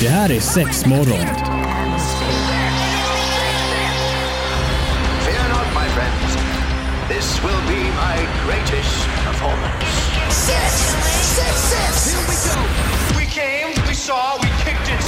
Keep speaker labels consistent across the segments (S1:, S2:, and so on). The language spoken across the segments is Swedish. S1: Det här är sex morgon.
S2: Fear not, my friends. This will be my greatest performance.
S3: Six, six, six. Here we go.
S2: We came, we saw, we kicked its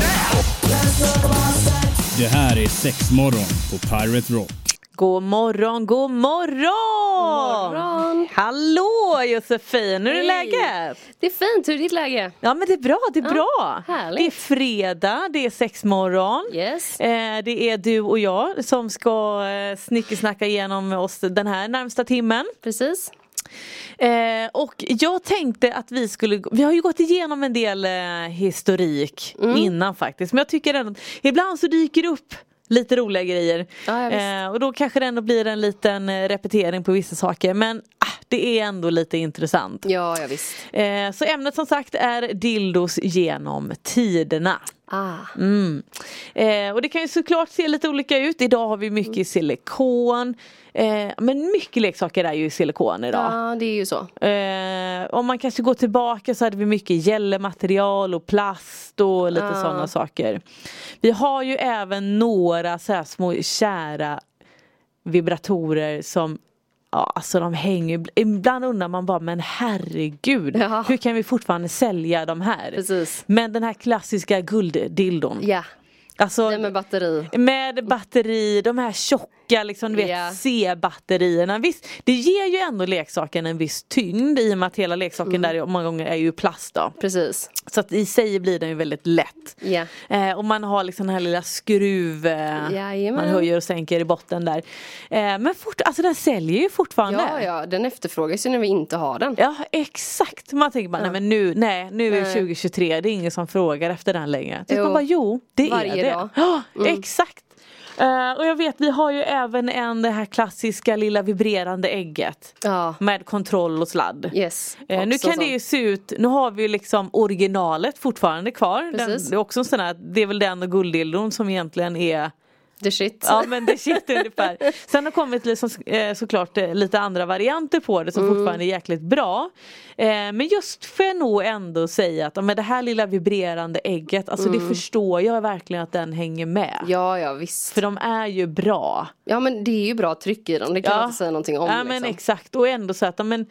S2: ass.
S1: Det här är sex morgon på Pirate Rock.
S4: God morgon, god morgon!
S5: morgon.
S4: Hallå Josefin, hur är
S5: Hej.
S4: läget?
S5: Det är fint, hur är ditt läge?
S4: Ja men det är bra, det är
S5: Ja,
S4: bra.
S5: härligt.
S4: Det är fredag, det är sexmorgon.
S5: Yes.
S4: Eh, det är du och jag som ska eh, snickesnacka igenom oss den här närmsta timmen.
S5: Precis.
S4: Eh, och jag tänkte att vi skulle, vi har ju gått igenom en del eh, historik
S5: Mm.
S4: innan faktiskt. Men jag tycker ändå, ibland så dyker det upp lite roliga grejer.
S5: Ja, ja, visst.
S4: eh, och då kanske det ändå blir en liten eh, repetering på vissa saker. Men ah, det är ändå lite intressant.
S5: Ja, ja visst.
S4: Eh, så ämnet som sagt är dildos genom tiderna.
S5: Ah.
S4: Mm. Eh, och det kan ju såklart se lite olika ut. Idag har vi
S5: Mm.
S4: mycket i silikon. Eh, men mycket leksaker är ju i silikon idag.
S5: Ja, det är ju så.
S4: Eh, om man kanske går tillbaka så hade vi mycket gällematerial och plast och lite
S5: Ja.
S4: sådana saker. Vi har ju även några så här små kära vibratorer som Ja, alltså de hänger, ibland undrar man bara men herregud
S5: Ja.
S4: hur kan vi fortfarande sälja de här?
S5: Precis.
S4: Men den här klassiska gulddildon.
S5: Ja,
S4: Alltså,
S5: den med batteri.
S4: med batteri, de här tjocka liksom, du vet,
S5: Ja.
S4: C-batterierna. Visst, det ger ju ändå leksaken en viss tyngd i och med att hela leksaken
S5: Mm.
S4: där många gånger är ju plast då.
S5: Precis.
S4: Så att i sig blir den ju väldigt lätt.
S5: Ja.
S4: Eh, och man har liksom den här lilla skruv eh,
S5: Jajamän.
S4: man höjer och sänker i botten där. Eh, men fort, alltså den säljer ju fortfarande.
S5: Ja, ja, den efterfrågas ju när vi inte har den.
S4: Ja, exakt. Man tänker bara, nej men nu, nej, nu är det
S5: Nej.
S4: 2023, det är ingen som frågar efter den längre. Tills
S5: Jo.
S4: man bara, jo, det är
S5: Varje
S4: det.
S5: dag. Mm.
S4: Ja, exakt. Eh, och jag vet, vi har ju även en det här klassiska lilla vibrerande ägget.
S5: Ja.
S4: Med kontroll och sladd.
S5: Yes.
S4: Eh, nu
S5: Också
S4: kan
S5: så.
S4: det ju se ut, nu har vi ju liksom originalet fortfarande kvar. Den,
S5: Precis.
S4: det är också en sån här, det är väl den och gulddildon som egentligen är
S5: The shit.
S4: Ja men det shit ungefär. Sen har kommit liksom, eh, såklart eh, lite andra varianter på det som
S5: Mm.
S4: fortfarande är jäkligt bra. Eh, Men just får jag nog ändå säga att ja, men det här lilla vibrerande ägget, alltså det förstår jag verkligen att den hänger med.
S5: Mm. Ja, ja visst.
S4: För de är ju bra.
S5: Ja, men det är ju bra tryck i den. Det kan man inte säga någonting om.
S4: ja men
S5: liksom.
S4: exakt och ändå så att ja, men,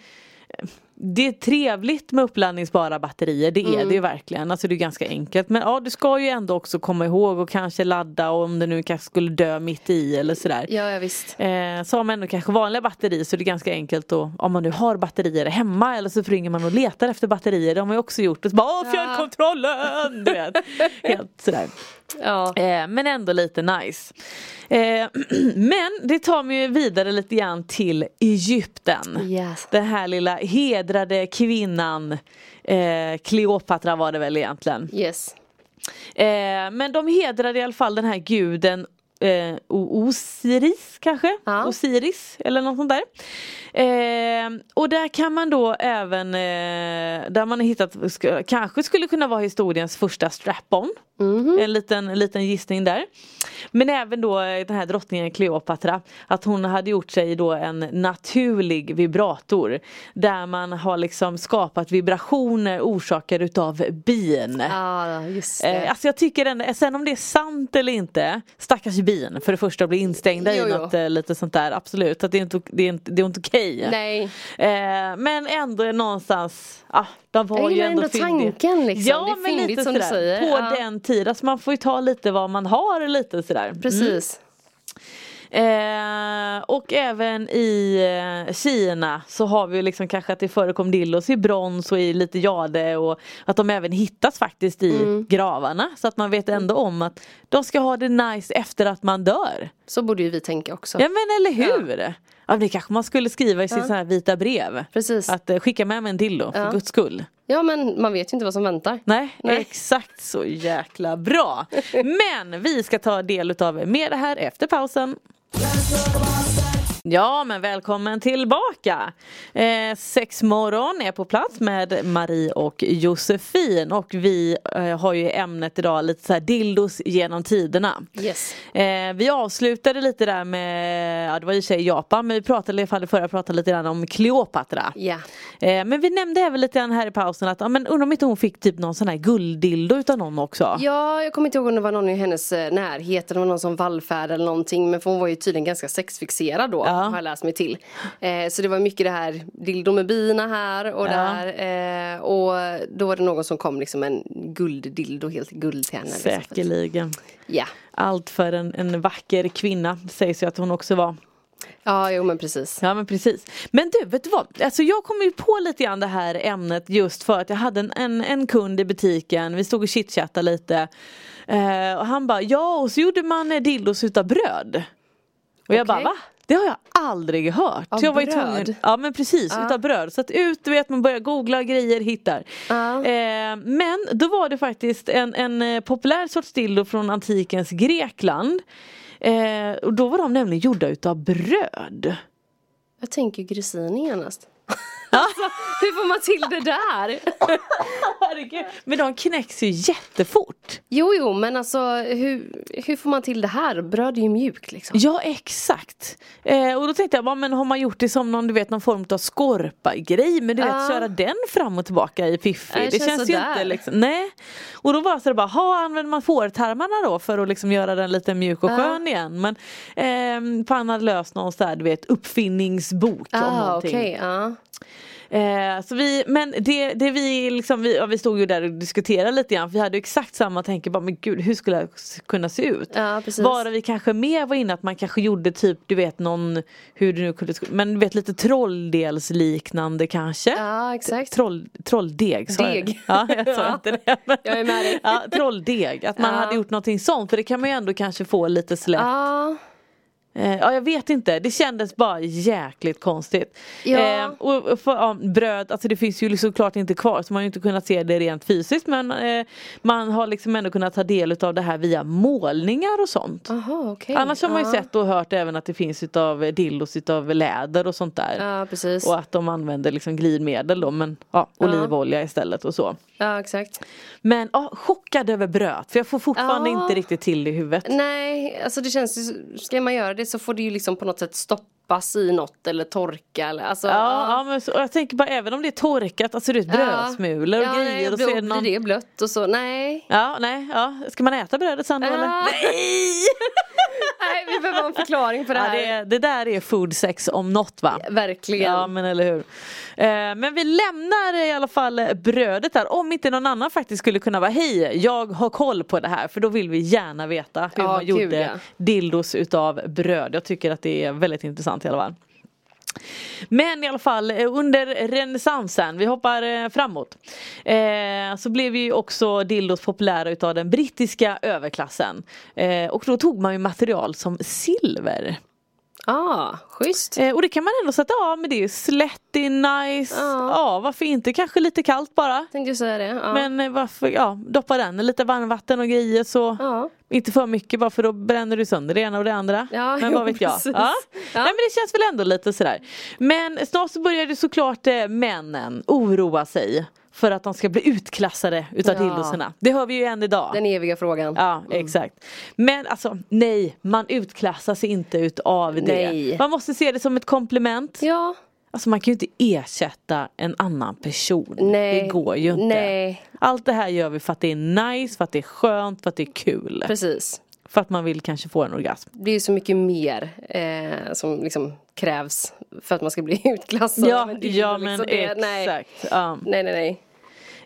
S4: eh, det är trevligt med uppladdningsbara batterier, det
S5: Mm.
S4: är det ju verkligen. Alltså det är ganska enkelt. Men ja, du ska ju ändå också komma ihåg och kanske ladda och om det nu kanske skulle dö mitt i eller sådär.
S5: Ja, ja visst.
S4: Eh, så har man ändå kanske vanliga batterier så det är ganska enkelt att om man nu har batterier hemma eller så ringer man och letar efter batterier. Det har man ju också gjort. Och så bara Åh, fjärrkontrollen! Du vet. Helt sådär.
S5: Ja.
S4: Eh, men ändå lite nice. Eh, men det tar mig ju vidare lite grann till Egypten.
S5: Yes.
S4: Den här lilla hedrade kvinnan eh, Kleopatra var det väl egentligen.
S5: Yes.
S4: Eh, men de hedrade i alla fall den här guden eh, O- Osiris kanske?
S5: Ja.
S4: Osiris eller något sånt där. Eh, och där kan man då även, eh, där man har hittat, ska, kanske skulle kunna vara historiens första strap-on. En liten, en liten gissning där. Men även då eh, den här drottningen Kleopatra att hon hade gjort sig då en naturlig vibrator. Där man har liksom skapat vibrationer orsakade utav bin.
S5: Ja, Ah, just
S4: Eh,
S5: det.
S4: alltså jag tycker ändå, sen om det är sant eller inte, stackars bin för det första att bli instängda
S5: Jo,
S4: i
S5: jo.
S4: något eh, lite sånt där, absolut. Att det, är inte, det, är inte, det är inte okej.
S5: Nej.
S4: Eh, men ändå någonstans, ah, de var
S5: Jag
S4: ju
S5: gillar
S4: ändå,
S5: ändå
S4: fyndiga.
S5: tanken, liksom.
S4: Ja,
S5: Det är
S4: men lite
S5: fyndigt som du
S4: sådär.
S5: säger.
S4: På
S5: Ja.
S4: den tiden, alltså man får ju ta lite vad man har lite sådär.
S5: Precis.
S4: Mm. Eh, och även i eh, Kina så har vi ju liksom kanske att det förekom dildos i brons och i lite jade och att de även hittas faktiskt i gravarna så att man vet ändå om att de ska ha det nice efter att man dör.
S5: Så borde ju vi tänka också.
S4: Ja men eller hur! Ja. men det kanske man skulle skriva i sitt sån här vita brev.
S5: Precis.
S4: Att eh, skicka med mig en dildo för
S5: Ja.
S4: guds skull.
S5: Ja, men man vet ju inte vad som väntar.
S4: Nej,
S5: Nej.
S4: exakt så jäkla bra. Men vi ska ta del utav mer det här efter pausen. Ja men välkommen tillbaka! Eh, sex morgon är på plats med Marie och Josefin och vi eh, har ju ämnet idag lite så här dildos genom tiderna.
S5: Yes.
S4: Eh, vi avslutade lite där med, ja det var i och för sig Japan men vi pratade i alla fall i förra pratade lite grann om Kleopatra.
S5: Ja.
S4: Eh, men vi nämnde även lite grann här i pausen att ja, men undrar om inte hon fick typ någon sån här gulddildo utav någon också.
S5: Ja, jag kommer inte ihåg om det var någon i hennes eh, närhet eller det var någon som vallfärd eller någonting. Men för hon var ju tydligen ganska sexfixerad då,
S4: Ja.
S5: har jag läst mig till. Eh, så det var mycket det här dildo med bina här och där. Eh, och då var det någon som kom liksom en gulddildo, helt guld till henne. liksom.
S4: Säkerligen.
S5: Ja.
S4: Allt för en, en vacker kvinna sägs ju att hon också var.
S5: ja, jo men precis.
S4: Ja men precis. Men du, vet du vad? Alltså jag kom ju på lite grann det här ämnet just för att jag hade en, en, en kund i butiken, vi stod och chitchattade lite. Eh, och han bara, ja och så gjorde man eh, dildos utav bröd. Och jag bara,
S5: Okej.
S4: va? Det har jag aldrig hört.
S5: Av
S4: så jag var ju
S5: bröd?
S4: tvungen, ja men precis, utav bröd. Så att ut, du vet man börjar googla grejer, hittar.
S5: Ja.
S4: Eh, men då var det faktiskt en, en eh, populär sorts dildo från antikens Grekland. Eh, och då var de nämligen gjorda utav bröd.
S5: Jag tänker grissini genast. Alltså, Hur får man till det där?
S4: Herregud. Men de knäcks ju jättefort.
S5: Jo, jo, men alltså hur, hur får man till det här? Bröd är ju mjukt liksom.
S4: Ja exakt. Eh, och då tänkte jag, va, men har man gjort det som någon, du vet, någon form av skorpa-grej men du vet
S5: Ja.
S4: köra den fram och tillbaka i fiffi.
S5: Ja,
S4: Det,
S5: det
S4: känns,
S5: känns
S4: ju
S5: sådär.
S4: inte liksom, nej. Och då var så det bara, ha använder man fårtarmarna då för att liksom göra den lite mjuk och
S5: Ja.
S4: skön igen. Men eh, fan hade löst någon så här, du vet, uppfinningsbok om
S5: Ah,
S4: någonting.
S5: okej. ja.
S4: Eh, så vi, men det, det vi, liksom, vi, ja, vi stod ju där och diskuterade lite grann. för Vi hade ju exakt samma tanke. Bara, men gud, hur skulle det här s- kunna se ut?
S5: Ja, precis.
S4: Bara vi kanske mer var inne att man kanske gjorde typ du vet någon hur det nu kunde men du vet lite trolldelsliknande kanske.
S5: ja, exakt.
S4: Troll, trolldeg sa jag det?
S5: Deg.
S4: Ja, jag sa
S5: Ja.
S4: inte det. men-
S5: Jag är med dig.
S4: Ja, trolldeg, att man
S5: Ja.
S4: hade gjort någonting sånt för det kan man ju ändå kanske få lite slätt. Ja,
S5: Ja,
S4: ja jag vet inte, det kändes bara jäkligt konstigt.
S5: Ja.
S4: Eh, och och för, ja, bröd, alltså det finns ju såklart inte kvar så man har ju inte kunnat se det rent fysiskt men eh, man har liksom ändå kunnat ta del av det här via målningar och sånt.
S5: aha, okej.
S4: Annars har man ju
S5: ja.
S4: sett och hört även att det finns utav eh, dildos utav läder och sånt där.
S5: Ja, precis.
S4: Och att de använder liksom glidmedel då men ja, olivolja istället och så.
S5: Ja, exakt.
S4: Men ja, chockad över bröd för jag får fortfarande
S5: Ja.
S4: inte riktigt till det i huvudet.
S5: Nej, alltså det känns ju, ska man göra det så får det ju liksom på något sätt stoppas i något eller torka eller alltså.
S4: Ja, ja men så, och jag tänker bara även om det är torkat, alltså du vet brödsmulor och
S5: Ja,
S4: grejer
S5: nej,
S4: och så är det
S5: blir
S4: någon...
S5: det blött och så, nej.
S4: Ja, nej, ja. Ska man äta brödet sen då eller?
S5: Ah.
S4: Nej!
S5: Nej, vi behöver ha en förklaring på det
S4: Ja,
S5: här.
S4: det, är- det där är food sex om något va?
S5: Verkligen.
S4: Ja men eller hur. Eh, men vi lämnar i alla fall brödet där om inte någon annan faktiskt skulle kunna vara hej jag har koll på det här för då vill vi gärna veta hur
S5: Ja,
S4: man
S5: gud,
S4: gjorde
S5: ja.
S4: dildos utav bröd. Jag tycker att det är väldigt intressant i alla fall. Men i alla fall eh, under renässansen, vi hoppar eh, framåt. Eh, så blev ju också dildos populära utav den brittiska överklassen. Eh, och då tog man ju material som silver.
S5: ah, schysst.
S4: Eh, och det kan man ändå sätta av men det är ju slätt, det är nice, ja.
S5: Ja.
S4: varför inte, kanske lite kallt bara.
S5: Tänkte ju säga det. Ja.
S4: Men eh, varför, ja, doppa den i lite varmvatten och grejer så
S5: Ja.
S4: inte för mycket bara för då bränner du sönder det ena och det andra.
S5: Ja,
S4: men
S5: jo,
S4: vad vet jag.
S5: precis.
S4: Ja.
S5: Ja.
S4: Nej men det känns väl ändå lite sådär. Men snart så börjar ju såklart eh, männen oroa sig för att de ska bli utklassade utav
S5: Ja.
S4: dildoserna. Det hör vi ju än idag.
S5: Den Mm. eviga frågan.
S4: Ja exakt. Men alltså nej, man utklassas inte utav det.
S5: Nej.
S4: Man måste se det som ett komplement.
S5: Ja.
S4: Alltså man kan ju inte ersätta en annan person.
S5: Nej.
S4: Det går ju inte.
S5: Nej.
S4: Allt det här gör vi för att det är nice, för att det är skönt, för att det är kul.
S5: Precis.
S4: För att man vill kanske få en orgasm.
S5: Det är ju så mycket mer eh, som liksom krävs för att man ska bli utklassad.
S4: Ja,
S5: Men det är ju
S4: ja
S5: liksom
S4: men
S5: det. Nej.
S4: exakt. Ja.
S5: nej, nej, nej.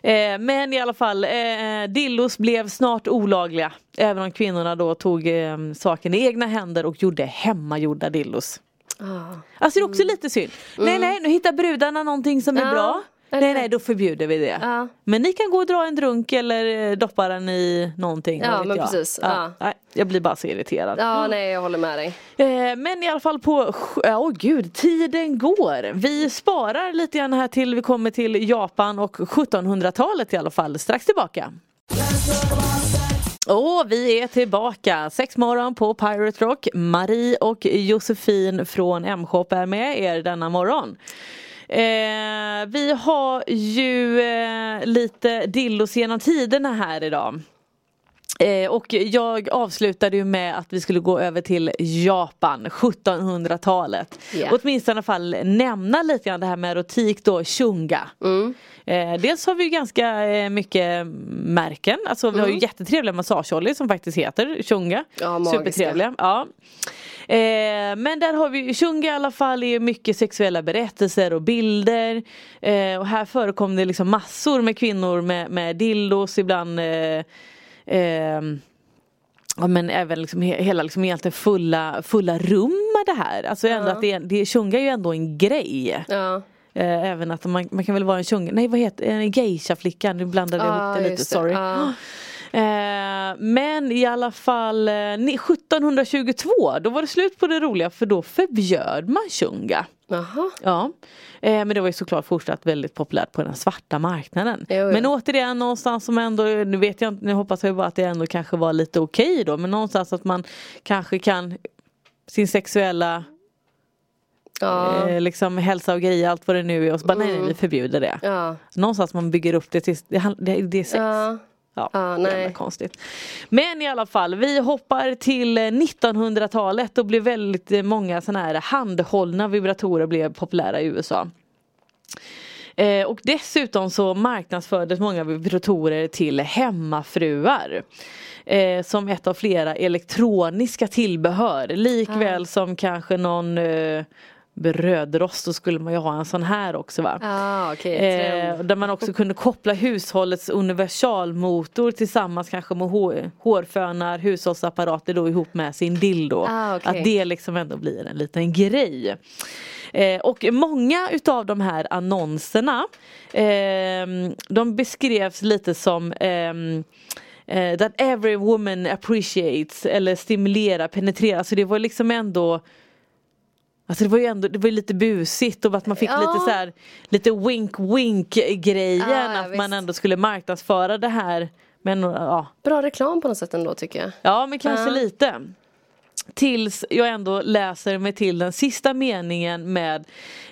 S4: Eh, men i alla fall, eh, dillos blev snart olagliga. Även om kvinnorna då tog eh, saken i egna händer och gjorde hemmagjorda dillos.
S5: Ah.
S4: Alltså det är också lite synd. Nej nej, nu hittar brudarna någonting som är
S5: Mm. Ja,
S4: bra.
S5: eller-
S4: Nej nej, då förbjuder vi det.
S5: Ja.
S4: Men ni kan gå och dra en drunk eller eh, doppa den i någonting.
S5: Ja,
S4: vad vet
S5: men
S4: jag.
S5: precis.
S4: Ja.
S5: Ja.
S4: Nej, jag blir bara så irriterad.
S5: Ja, nej, jag håller med dig.
S4: Eh, men i alla fall på, åh oh, gud, tiden går. Vi sparar lite grann här till vi kommer till Japan och 1700-talet i alla fall. Strax tillbaka. Och vi är tillbaka, sex morgon på Pirate Rock. Marie och Josefin från M-shop är med er denna morgon. Eh, vi har ju eh, lite dillos genom tiderna här idag. Eh, och jag avslutade ju med att vi skulle gå över till Japan, 1700-talet.
S5: Ja.
S4: Åtminstone i alla fall nämna lite grann det här med erotik då, shunga. Eh, dels har vi ju ganska eh, mycket märken, alltså vi har ju jättetrevliga massageoljor som faktiskt heter shunga.
S5: Mm. Ja, magiska.
S4: Supertrevliga. Ja. Eh, men där har vi ju, shunga i alla fall är ju mycket sexuella berättelser och bilder. Eh, och här förekom det liksom massor med kvinnor med, med dildos ibland eh, ehm, Ja, men även liksom he- hela liksom egentligen fulla, fulla rum med det här. Alltså ändå att det, är- det, tjonga är ju ändå en grej.
S5: Ja.
S4: Eh, även att man, man kan väl vara en tjonga, nej vad heter en geisha-flicka, nu blandade jag
S5: Ah,
S4: ihop det lite,
S5: just det.
S4: sorry.
S5: Ah.
S4: Eh, men i alla fall eh, ni- 1722, då var det slut på det roliga för då förbjöd man tjonga.
S5: Jaha.
S4: Ja, eh, men det var ju såklart fortsatt väldigt populärt på den svarta marknaden.
S5: Jo, jo.
S4: Men återigen någonstans som ändå, nu vet jag inte, nu hoppas jag ju bara att det ändå kanske var lite okej då, men någonstans att man kanske kan sin sexuella
S5: Ja. Mm.
S4: eh, liksom, hälsa och grejer, allt vad det nu är och så bara nej, nej vi förbjuder det.
S5: Ja.
S4: Någonstans man bygger upp det till, det, hand- det, det är sex.
S5: Ja.
S4: Ja,
S5: Ja,
S4: jävla
S5: nej.
S4: konstigt. Men i alla fall, vi hoppar till eh, 1900-talet. Då blev väldigt eh, många sådana här handhållna vibratorer blev populära i USA. Eh, och dessutom så marknadsfördes många vibratorer till hemmafruar. Eh, som ett av flera elektroniska tillbehör. Likväl som kanske någon eh, brödrost, då skulle man ju ha en sån här också va.
S5: Ja, okej.
S4: Eh,
S5: Trend.
S4: där man också kunde koppla hushållets universalmotor tillsammans kanske med hår, hårfönar, hushållsapparater då ihop med sin dildo.
S5: Ah, okej.
S4: Att det liksom ändå blir en liten grej. Eh, och många utav de här annonserna ehm, de beskrevs lite som ehm, eh, that every woman appreciates eller stimulerar, penetrerar. Så det var liksom ändå Alltså det var ju ändå det var ju lite busigt och att man fick
S5: Ja.
S4: lite så här Lite wink wink grejen
S5: Ja, ja,
S4: att man
S5: visst.
S4: ändå skulle marknadsföra det här Men ja,
S5: Bra reklam på något sätt ändå tycker jag.
S4: ja men kanske
S5: Ja.
S4: lite Tills jag ändå läser mig till den sista meningen med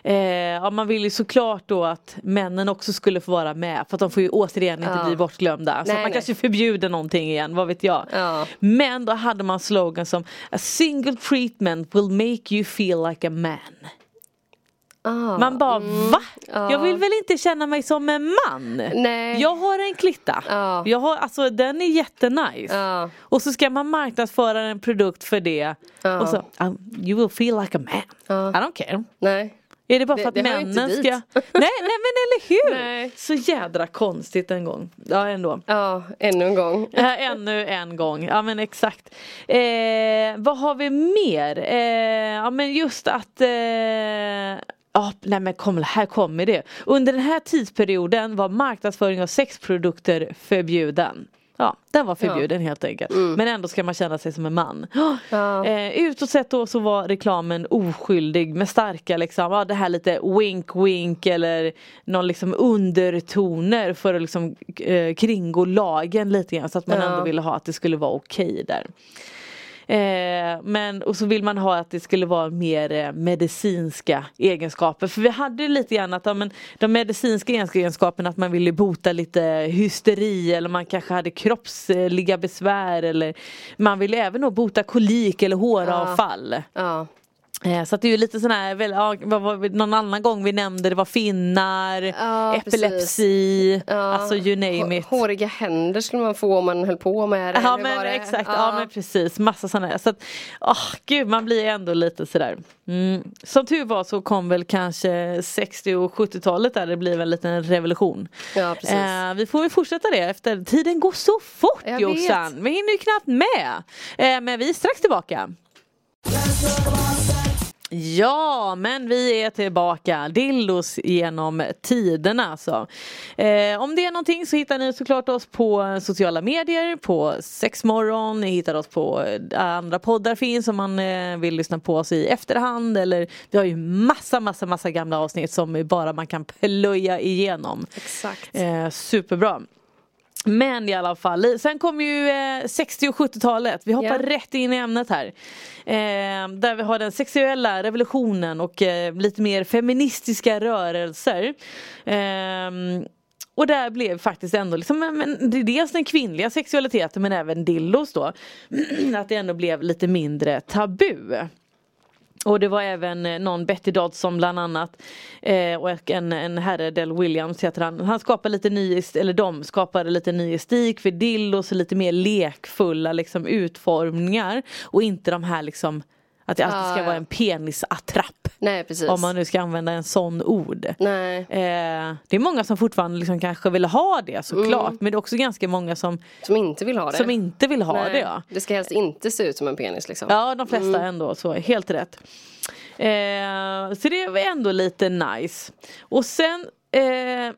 S4: eh, ja, Man vill ju såklart då att männen också skulle få vara med För att de får ju återigen inte
S5: Ja.
S4: bli bortglömda Så
S5: Nej,
S4: att man
S5: nej.
S4: kanske förbjuder någonting igen, vad vet jag
S5: Ja.
S4: Men då hade man slogan som A single treatment will make you feel like a man
S5: Ah.
S4: Man bara va? Jag vill väl inte känna mig som en man?
S5: Nej.
S4: Jag har en klitta.
S5: Ja.
S4: Jag har, alltså, den är jättenice.
S5: Ja.
S4: Och så ska man marknadsföra en produkt för det.
S5: Ja.
S4: Och så, um, you will feel like a man. I don't care.
S5: Nej.
S4: Är det bara
S5: Det-
S4: för att
S5: det hör ju inte
S4: männen
S5: dit.
S4: ska... Nej, nej men eller hur!
S5: Nej.
S4: Så jädra konstigt en gång. Ja ändå.
S5: Ja, ännu en gång.
S4: Äh, Ännu en gång, ja men exakt. Eh, vad har vi mer? Eh, ja men just att eh, ja, nej men kom, här kommer det. Under den här tidsperioden var marknadsföring av sexprodukter förbjuden. Ja, den var förbjuden helt enkelt. Men ändå ska man känna sig som en man.
S5: Ja.
S4: Eh, utåt sett då så var reklamen oskyldig med starka liksom, ja, det här lite wink wink eller någon liksom undertoner för att liksom eh, kringgå lagen lite grann så att man
S5: Ja.
S4: ändå ville ha att det skulle vara okej där. Eh, men, och så vill man ha att det skulle vara mer eh, medicinska egenskaper. För vi hade ju lite grann att ja, men, de medicinska egenskaperna att man ville bota lite hysteri eller man kanske hade kroppsliga besvär eller man ville även då bota kolik eller håravfall.
S5: Ja.
S4: Eh, Så att det är ju lite sån här, väl, ja, vad var vi- någon annan gång vi nämnde det var finnar,
S5: Ja,
S4: epilepsi,
S5: Ja.
S4: alltså you name it.
S5: Hå- Håriga händer skulle man få om man höll på med det.
S4: Ja
S5: eller
S4: men
S5: vad det-
S4: exakt, ja. men precis. Massa sådana här. Så att, åh, gud man blir ändå lite sådär. Mm. Som tur var så kom väl kanske 60 och 70-talet där det blev en liten revolution.
S5: Ja, precis.
S4: Eh, vi får väl fortsätta det efter, tiden går så fort
S5: Jag vet.
S4: Jossan. Vi hinner ju knappt med. Eh, men vi är strax tillbaka. Ja, men vi är tillbaka. Dildos genom tiderna alltså. Eh, om det är någonting så hittar ni såklart oss på sociala medier, på sexmorgon, ni hittar oss på eh, andra poddar finns om man eh, vill lyssna på oss i efterhand eller vi har ju massa, massa, massa gamla avsnitt som bara man kan plöja igenom.
S5: Exakt.
S4: Eh, superbra. Men i alla fall, sen kom ju eh, 60 och 70-talet. Vi hoppar
S5: Ja.
S4: rätt in i ämnet här. Eh, där vi har den sexuella revolutionen och eh, lite mer feministiska rörelser. Ehm, och där blev faktiskt ändå liksom, men, men, det är dels den kvinnliga sexualiteten men även dildos då. att det ändå blev lite mindre tabu. Och det var även eh, någon Betty Dodson bland annat eh, och en, en herre Del Williams heter han. Han skapade lite ny, est- eller de skapade lite ny estik för dildos och lite mer lekfulla liksom utformningar och inte de här liksom att det alltid
S5: Ja,
S4: ska
S5: ja.
S4: vara en penisattrapp.
S5: Nej precis.
S4: Om man nu ska använda en sån ord.
S5: Nej.
S4: Eh, det är många som fortfarande liksom kanske vill ha det såklart men det är också ganska många som,
S5: Som inte vill ha det.
S4: som inte vill ha
S5: Mm. Nej.
S4: det. Ja.
S5: Det ska helst inte se ut som en penis liksom.
S4: Ja, de flesta ändå så, helt rätt. Eh, så det var ändå lite nice. Och sen eh,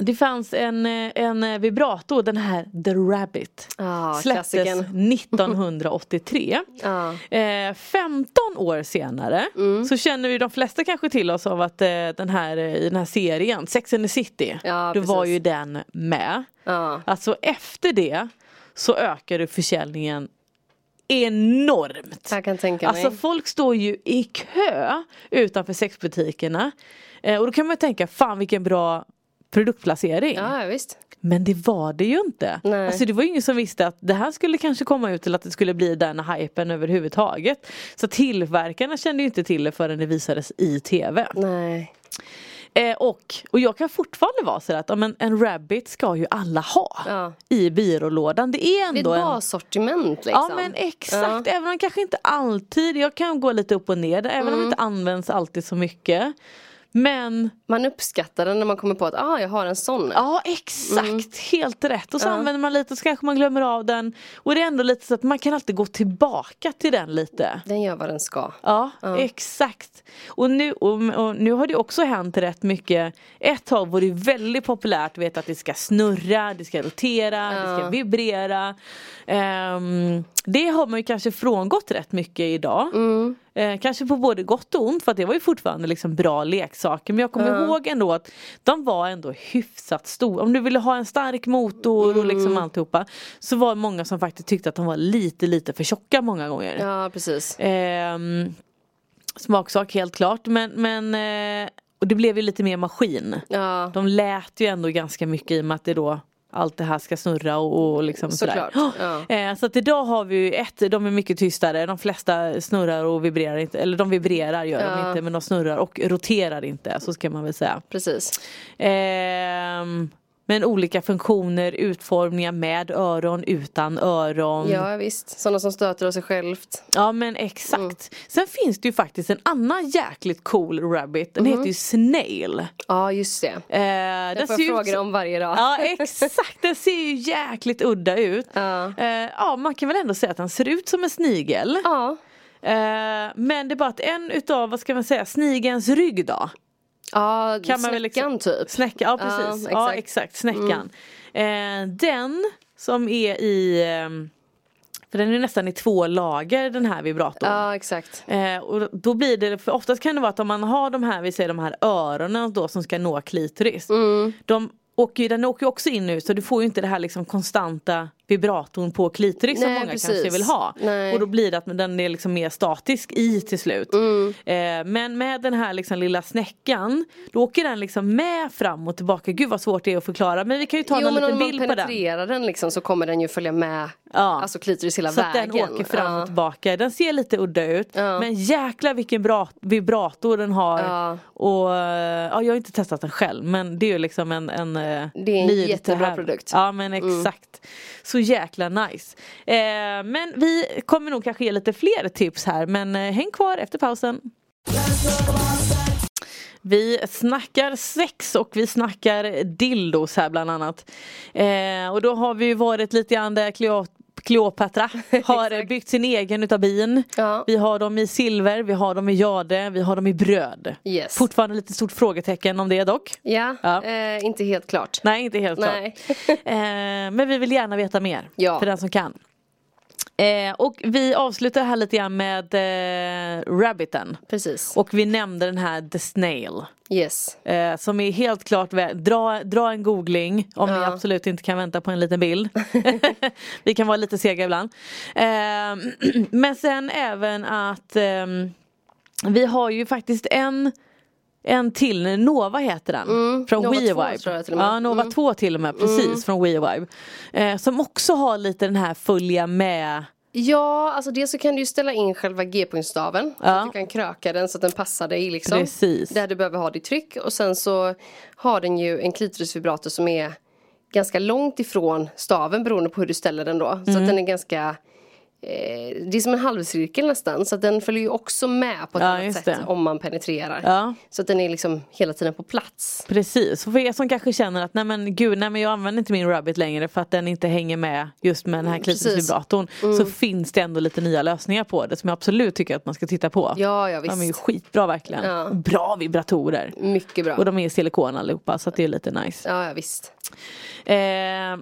S4: det fanns en, eh, en vibrato, den här The Rabbit.
S5: Ah,
S4: släpptes
S5: klassikern.
S4: 1983.
S5: Ja. Mm.
S4: Eh, 15 år senare så känner ju de flesta kanske till oss av att eh, den här, eh, i den här serien, Sex and the City,
S5: Ja,
S4: då var
S5: precis.
S4: ju den med.
S5: Ja.
S4: Alltså efter det så ökade försäljningen enormt.
S5: Jag kan tänka mig.
S4: Alltså folk står ju i kö utanför sexbutikerna. Eh, och då kan man ju tänka, fan vilken bra produktplacering.
S5: Ja, ja, visst.
S4: Men det var det ju inte.
S5: Nej.
S4: Alltså det var ju ingen som visste att det här skulle kanske komma ut till att det skulle bli den hypen överhuvudtaget. Så tillverkarna kände ju inte till det förrän det visades i tv.
S5: Nej.
S4: Eh, och, och jag kan fortfarande vara så att ja, men en rabbit ska ju alla ha
S5: Ja.
S4: i byrålådan. Det är
S5: Det är ett
S4: ändå en...
S5: bassortiment liksom.
S4: Ja men exakt, även om det kanske inte alltid, jag kan gå lite upp och ner där, även om det inte används alltid så mycket. Men
S5: Man uppskattar den när man kommer på att ah, jag har en sån.
S4: ja exakt, Mm. helt rätt. Och så använder man lite och så kanske man glömmer av den. Och det är ändå lite så att man kan alltid gå tillbaka till den lite.
S5: Den gör vad den ska.
S4: Ja, exakt. Och nu, och, och nu har det också hänt rätt mycket. Ett tag var det väldigt populärt vet, att det ska snurra, det ska rotera, det ska vibrera. Ehm, det har man ju kanske frångått rätt mycket idag.
S5: Mm.
S4: Eh, kanske på både gott och ont för att det var ju fortfarande liksom bra leksaker. Men jag kommer ihåg ändå att de var ändå hyfsat stora. Om du ville ha en stark motor och liksom alltihopa. Så var det många som faktiskt tyckte att de var lite lite för tjocka många gånger.
S5: Ja, precis.
S4: Ehm, smaksak helt klart men, men eh, och det blev ju lite mer maskin.
S5: Ja,
S4: De lät ju ändå ganska mycket i och med att det då allt det här ska snurra och, och liksom
S5: Såklart,
S4: sådär.
S5: ja.
S4: Eh, så att idag har vi ju ett, de är mycket tystare, de flesta snurrar och vibrerar inte, eller de vibrerar gör de
S5: Ja.
S4: inte men de snurrar och roterar inte så ska man väl säga.
S5: precis.
S4: Ehm, men olika funktioner, utformningar med öron, utan öron.
S5: Ja, visst. Sådana som stöter av sig självt.
S4: Ja men exakt.
S5: Mm.
S4: Sen finns det ju faktiskt en annan jäkligt cool rabbit. Den heter ju Snail. Eh,
S5: Ja, just det.
S4: den
S5: Den får
S4: ser
S5: Mm. jag
S4: ju ut
S5: frågor
S4: som-
S5: om varje dag.
S4: Ja exakt, den ser ju jäkligt udda ut.
S5: Ja.
S4: Eh, ja man kan väl ändå säga att den ser ut som en snigel.
S5: Ja,
S4: Eh, men det är bara att en utav, vad ska man säga, snigens rygg då.
S5: ja
S4: Kan
S5: kan
S4: man väl
S5: snäckan
S4: liksom-
S5: typ.
S4: Snäcka, ja precis.
S5: Ja,
S4: Ja,
S5: exakt. Mm.
S4: exakt. snäckan. Eh, den som är i, ehm, för den är nästan i två lager den här vibratorn.
S5: Ja, exakt.
S4: Eh, och då blir det, för oftast kan det vara att om man har de här, vi säger de här öronen då som ska nå klitoris.
S5: Mm.
S4: De åker, ju- den åker ju också in nu så du får ju inte det här liksom konstanta vibratorn på klitoris som
S5: Nej,
S4: många
S5: precis.
S4: kanske vill ha.
S5: Nej. Mm.
S4: Och då blir det att den är liksom mer statisk i till slut. Eh, men med den här liksom lilla snäckan då åker den liksom med fram och tillbaka. Gud vad svårt det är att förklara men vi kan ju ta
S5: Jo
S4: någon
S5: men om
S4: liten
S5: man
S4: bild på den.
S5: penetrerar den liksom så kommer den ju följa med
S4: Ja.
S5: alltså klitoris hela
S4: Så att
S5: vägen.
S4: den åker fram och
S5: Ja.
S4: tillbaka. Den ser lite udda ut. Men jäkla vilken bra vibrator den har.
S5: Ja.
S4: Och, eh, ja, jag har inte testat den själv men det är ju liksom en, en eh,
S5: Det är en
S4: liv till
S5: jättebra
S4: här.
S5: produkt. Mm.
S4: Ja men exakt. Så jäkla nice. Eh, men vi kommer nog kanske ge lite fler tips här men eh, häng kvar efter pausen. Vi snackar sex och vi snackar dildos här bland annat. Eh, och då har vi ju varit lite grann där Cleo- Cleopatra har
S5: Exakt.
S4: byggt sin egen utav bin.
S5: Ja.
S4: Vi har dem i silver, vi har dem i jade, vi har dem i bröd.
S5: Yes.
S4: Fortfarande lite stort frågetecken om det dock.
S5: Ja,
S4: Ja.
S5: Eh, inte helt klart.
S4: Nej inte helt
S5: Nej.
S4: klart. Eh, men vi vill gärna veta mer.
S5: Ja.
S4: För den som kan. Eh, och vi avslutar här lite grann med eh, Rabbiten.
S5: Precis.
S4: Och vi nämnde den här The Snail.
S5: Yes.
S4: Eh, som är helt klart, vä- dra, dra en googling om ni
S5: Ja.
S4: absolut inte kan vänta på en liten bild. Vi kan vara lite sega ibland. Eh, men sen även att ehm, vi har ju faktiskt en en till, Nova heter den. från
S5: Mm, Nova 2
S4: WeVibe.
S5: tror jag till och med. Mm.
S4: Ja, Nova 2 till och med, precis från WeVibe. Eh, som också har lite den här följa med
S5: Ja, alltså dels så kan du ju ställa in själva g-punktstaven. Så
S4: Ja.
S5: att du kan kröka den så att den passar dig liksom.
S4: Precis.
S5: Där du behöver ha ditt tryck. Och sen så har den ju en klitorisvibrator som är ganska långt ifrån staven beroende på hur du ställer den då. Så att
S4: Mm.
S5: den är ganska eh, det är som en halvcirkel nästan så att den följer ju också med på ett
S4: Ja,
S5: annat
S4: just
S5: sätt
S4: det.
S5: om man penetrerar.
S4: Ja.
S5: Så att den är liksom hela tiden på plats.
S4: Precis, och för er som kanske känner att nej men gud, nej men jag använder inte min Rabbit längre för att den inte hänger med just med
S5: Mm,
S4: den här klitorisvibratorn så finns det ändå lite nya lösningar på det som jag absolut tycker att man ska titta på.
S5: Ja, ja, visst.
S4: De är ju skitbra verkligen.
S5: Ja.
S4: Bra vibratorer.
S5: Mycket bra.
S4: Och de är i silikon allihopa så att det är lite nice.
S5: Ja, ja visst.
S4: Eh,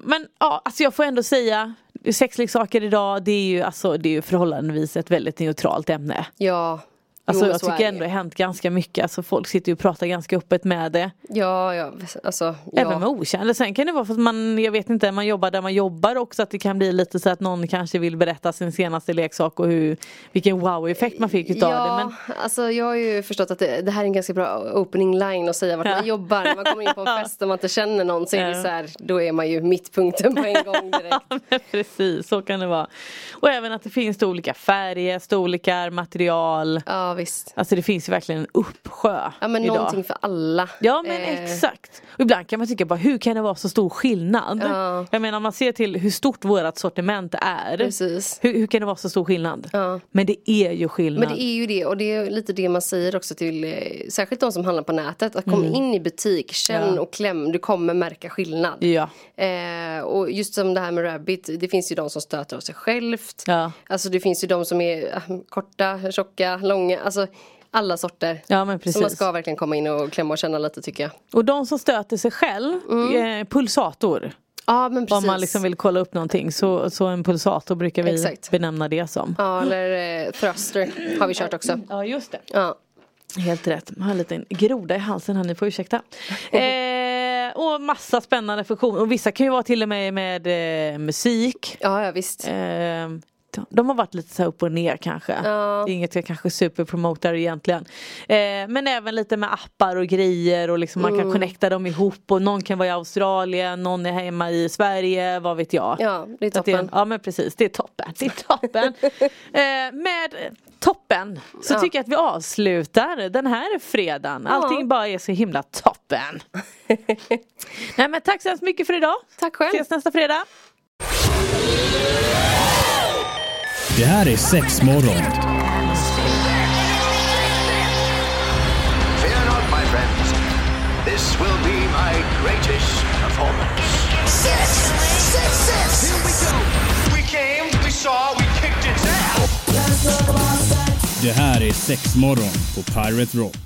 S4: men ja, alltså jag får ändå säga sexleksaker idag det är ju, alltså, det är ju förhållandevis ett väldigt neutralt ämne.
S5: Ja.
S4: Alltså
S5: Jo,
S4: jag
S5: så är
S4: tycker
S5: det
S4: ändå det
S5: ju.
S4: har hänt ganska mycket, alltså folk sitter ju och pratar ganska öppet med det.
S5: Ja, ja. Alltså, ja.
S4: Även med okända. Sen kan det vara för att man, jag vet inte, man jobbar där man jobbar också att det kan bli lite så att någon kanske vill berätta sin senaste leksak och hur, vilken wow-effekt man fick utav
S5: ja,
S4: det. Men,
S5: alltså jag har ju förstått att det, det här är en ganska bra opening line att säga vart
S4: Ja.
S5: man jobbar. När man kommer in på en fest och man inte känner någon så är
S4: Ja.
S5: det så här, då är man ju mittpunkten på en gång direkt.
S4: Ja, men precis, så kan det vara. Och även att det finns då olika färger, storlekar, material.
S5: Ja visst.
S4: Alltså det finns ju verkligen en uppsjö
S5: Ja men
S4: idag.
S5: någonting för alla.
S4: Ja men
S5: Eh,
S4: exakt. Och ibland kan man tycka bara hur kan det vara så stor skillnad?
S5: Ja.
S4: Jag menar om man ser till hur stort vårat sortiment är.
S5: Precis.
S4: Hur, hur kan det vara så stor skillnad?
S5: Ja.
S4: Men det är ju skillnad.
S5: Men det är ju det och det är lite det man säger också till eh, särskilt de som handlar på nätet. Att kom in i butik, känn
S4: Mm. Ja.
S5: och kläm, du kommer märka skillnad.
S4: Ja.
S5: Eh, och just som det här med rabbit, det finns ju de som stöter av sig självt.
S4: Ja.
S5: Alltså det finns ju de som är eh, korta, tjocka, långa, alltså alla sorter.
S4: Ja, men
S5: Så man
S4: precis.
S5: ska verkligen komma in och klämma och känna lite tycker jag.
S4: Och de som stöter sig själv, eh, pulsator.
S5: Ja men Mm. precis.
S4: Om man liksom vill kolla upp någonting så, så en pulsator brukar vi
S5: Exakt.
S4: benämna det som. Mm,
S5: Ja eller eh, thruster har vi kört också.
S4: Ja just det.
S5: Ja.
S4: Helt rätt. Jag har en liten groda i halsen här, ni får ursäkta. Eh, och massa spännande funktioner. Och vissa kan ju vara till och med med eh, musik.
S5: Ja, ja visst.
S4: Eh, de- de har varit lite så här upp och ner kanske.
S5: Ja.
S4: Det är Inget jag kanske superpromotar egentligen. Eh, men även lite med appar och grejer och liksom
S5: Mm.
S4: man kan connecta dem ihop och någon kan vara i Australien, någon är hemma i Sverige, vad vet jag.
S5: Ja, det är
S4: Så att en-
S5: toppen.
S4: ja men precis, det är toppen. Det är toppen. eh, med toppen så
S5: Ja.
S4: tycker jag att vi avslutar den här fredagen. Allting bara är så himla toppen. Nej men tack så hemskt mycket för idag.
S5: Tack själv.
S4: Ses nästa fredag.
S1: Det här är Sexmorgon
S2: Fear not, my friends. This will be my greatest performance.
S3: Six, six, six. Here we go.
S2: We came, we saw, we kicked its ass.
S1: Det här är Sexmorgon på Pirate Rock.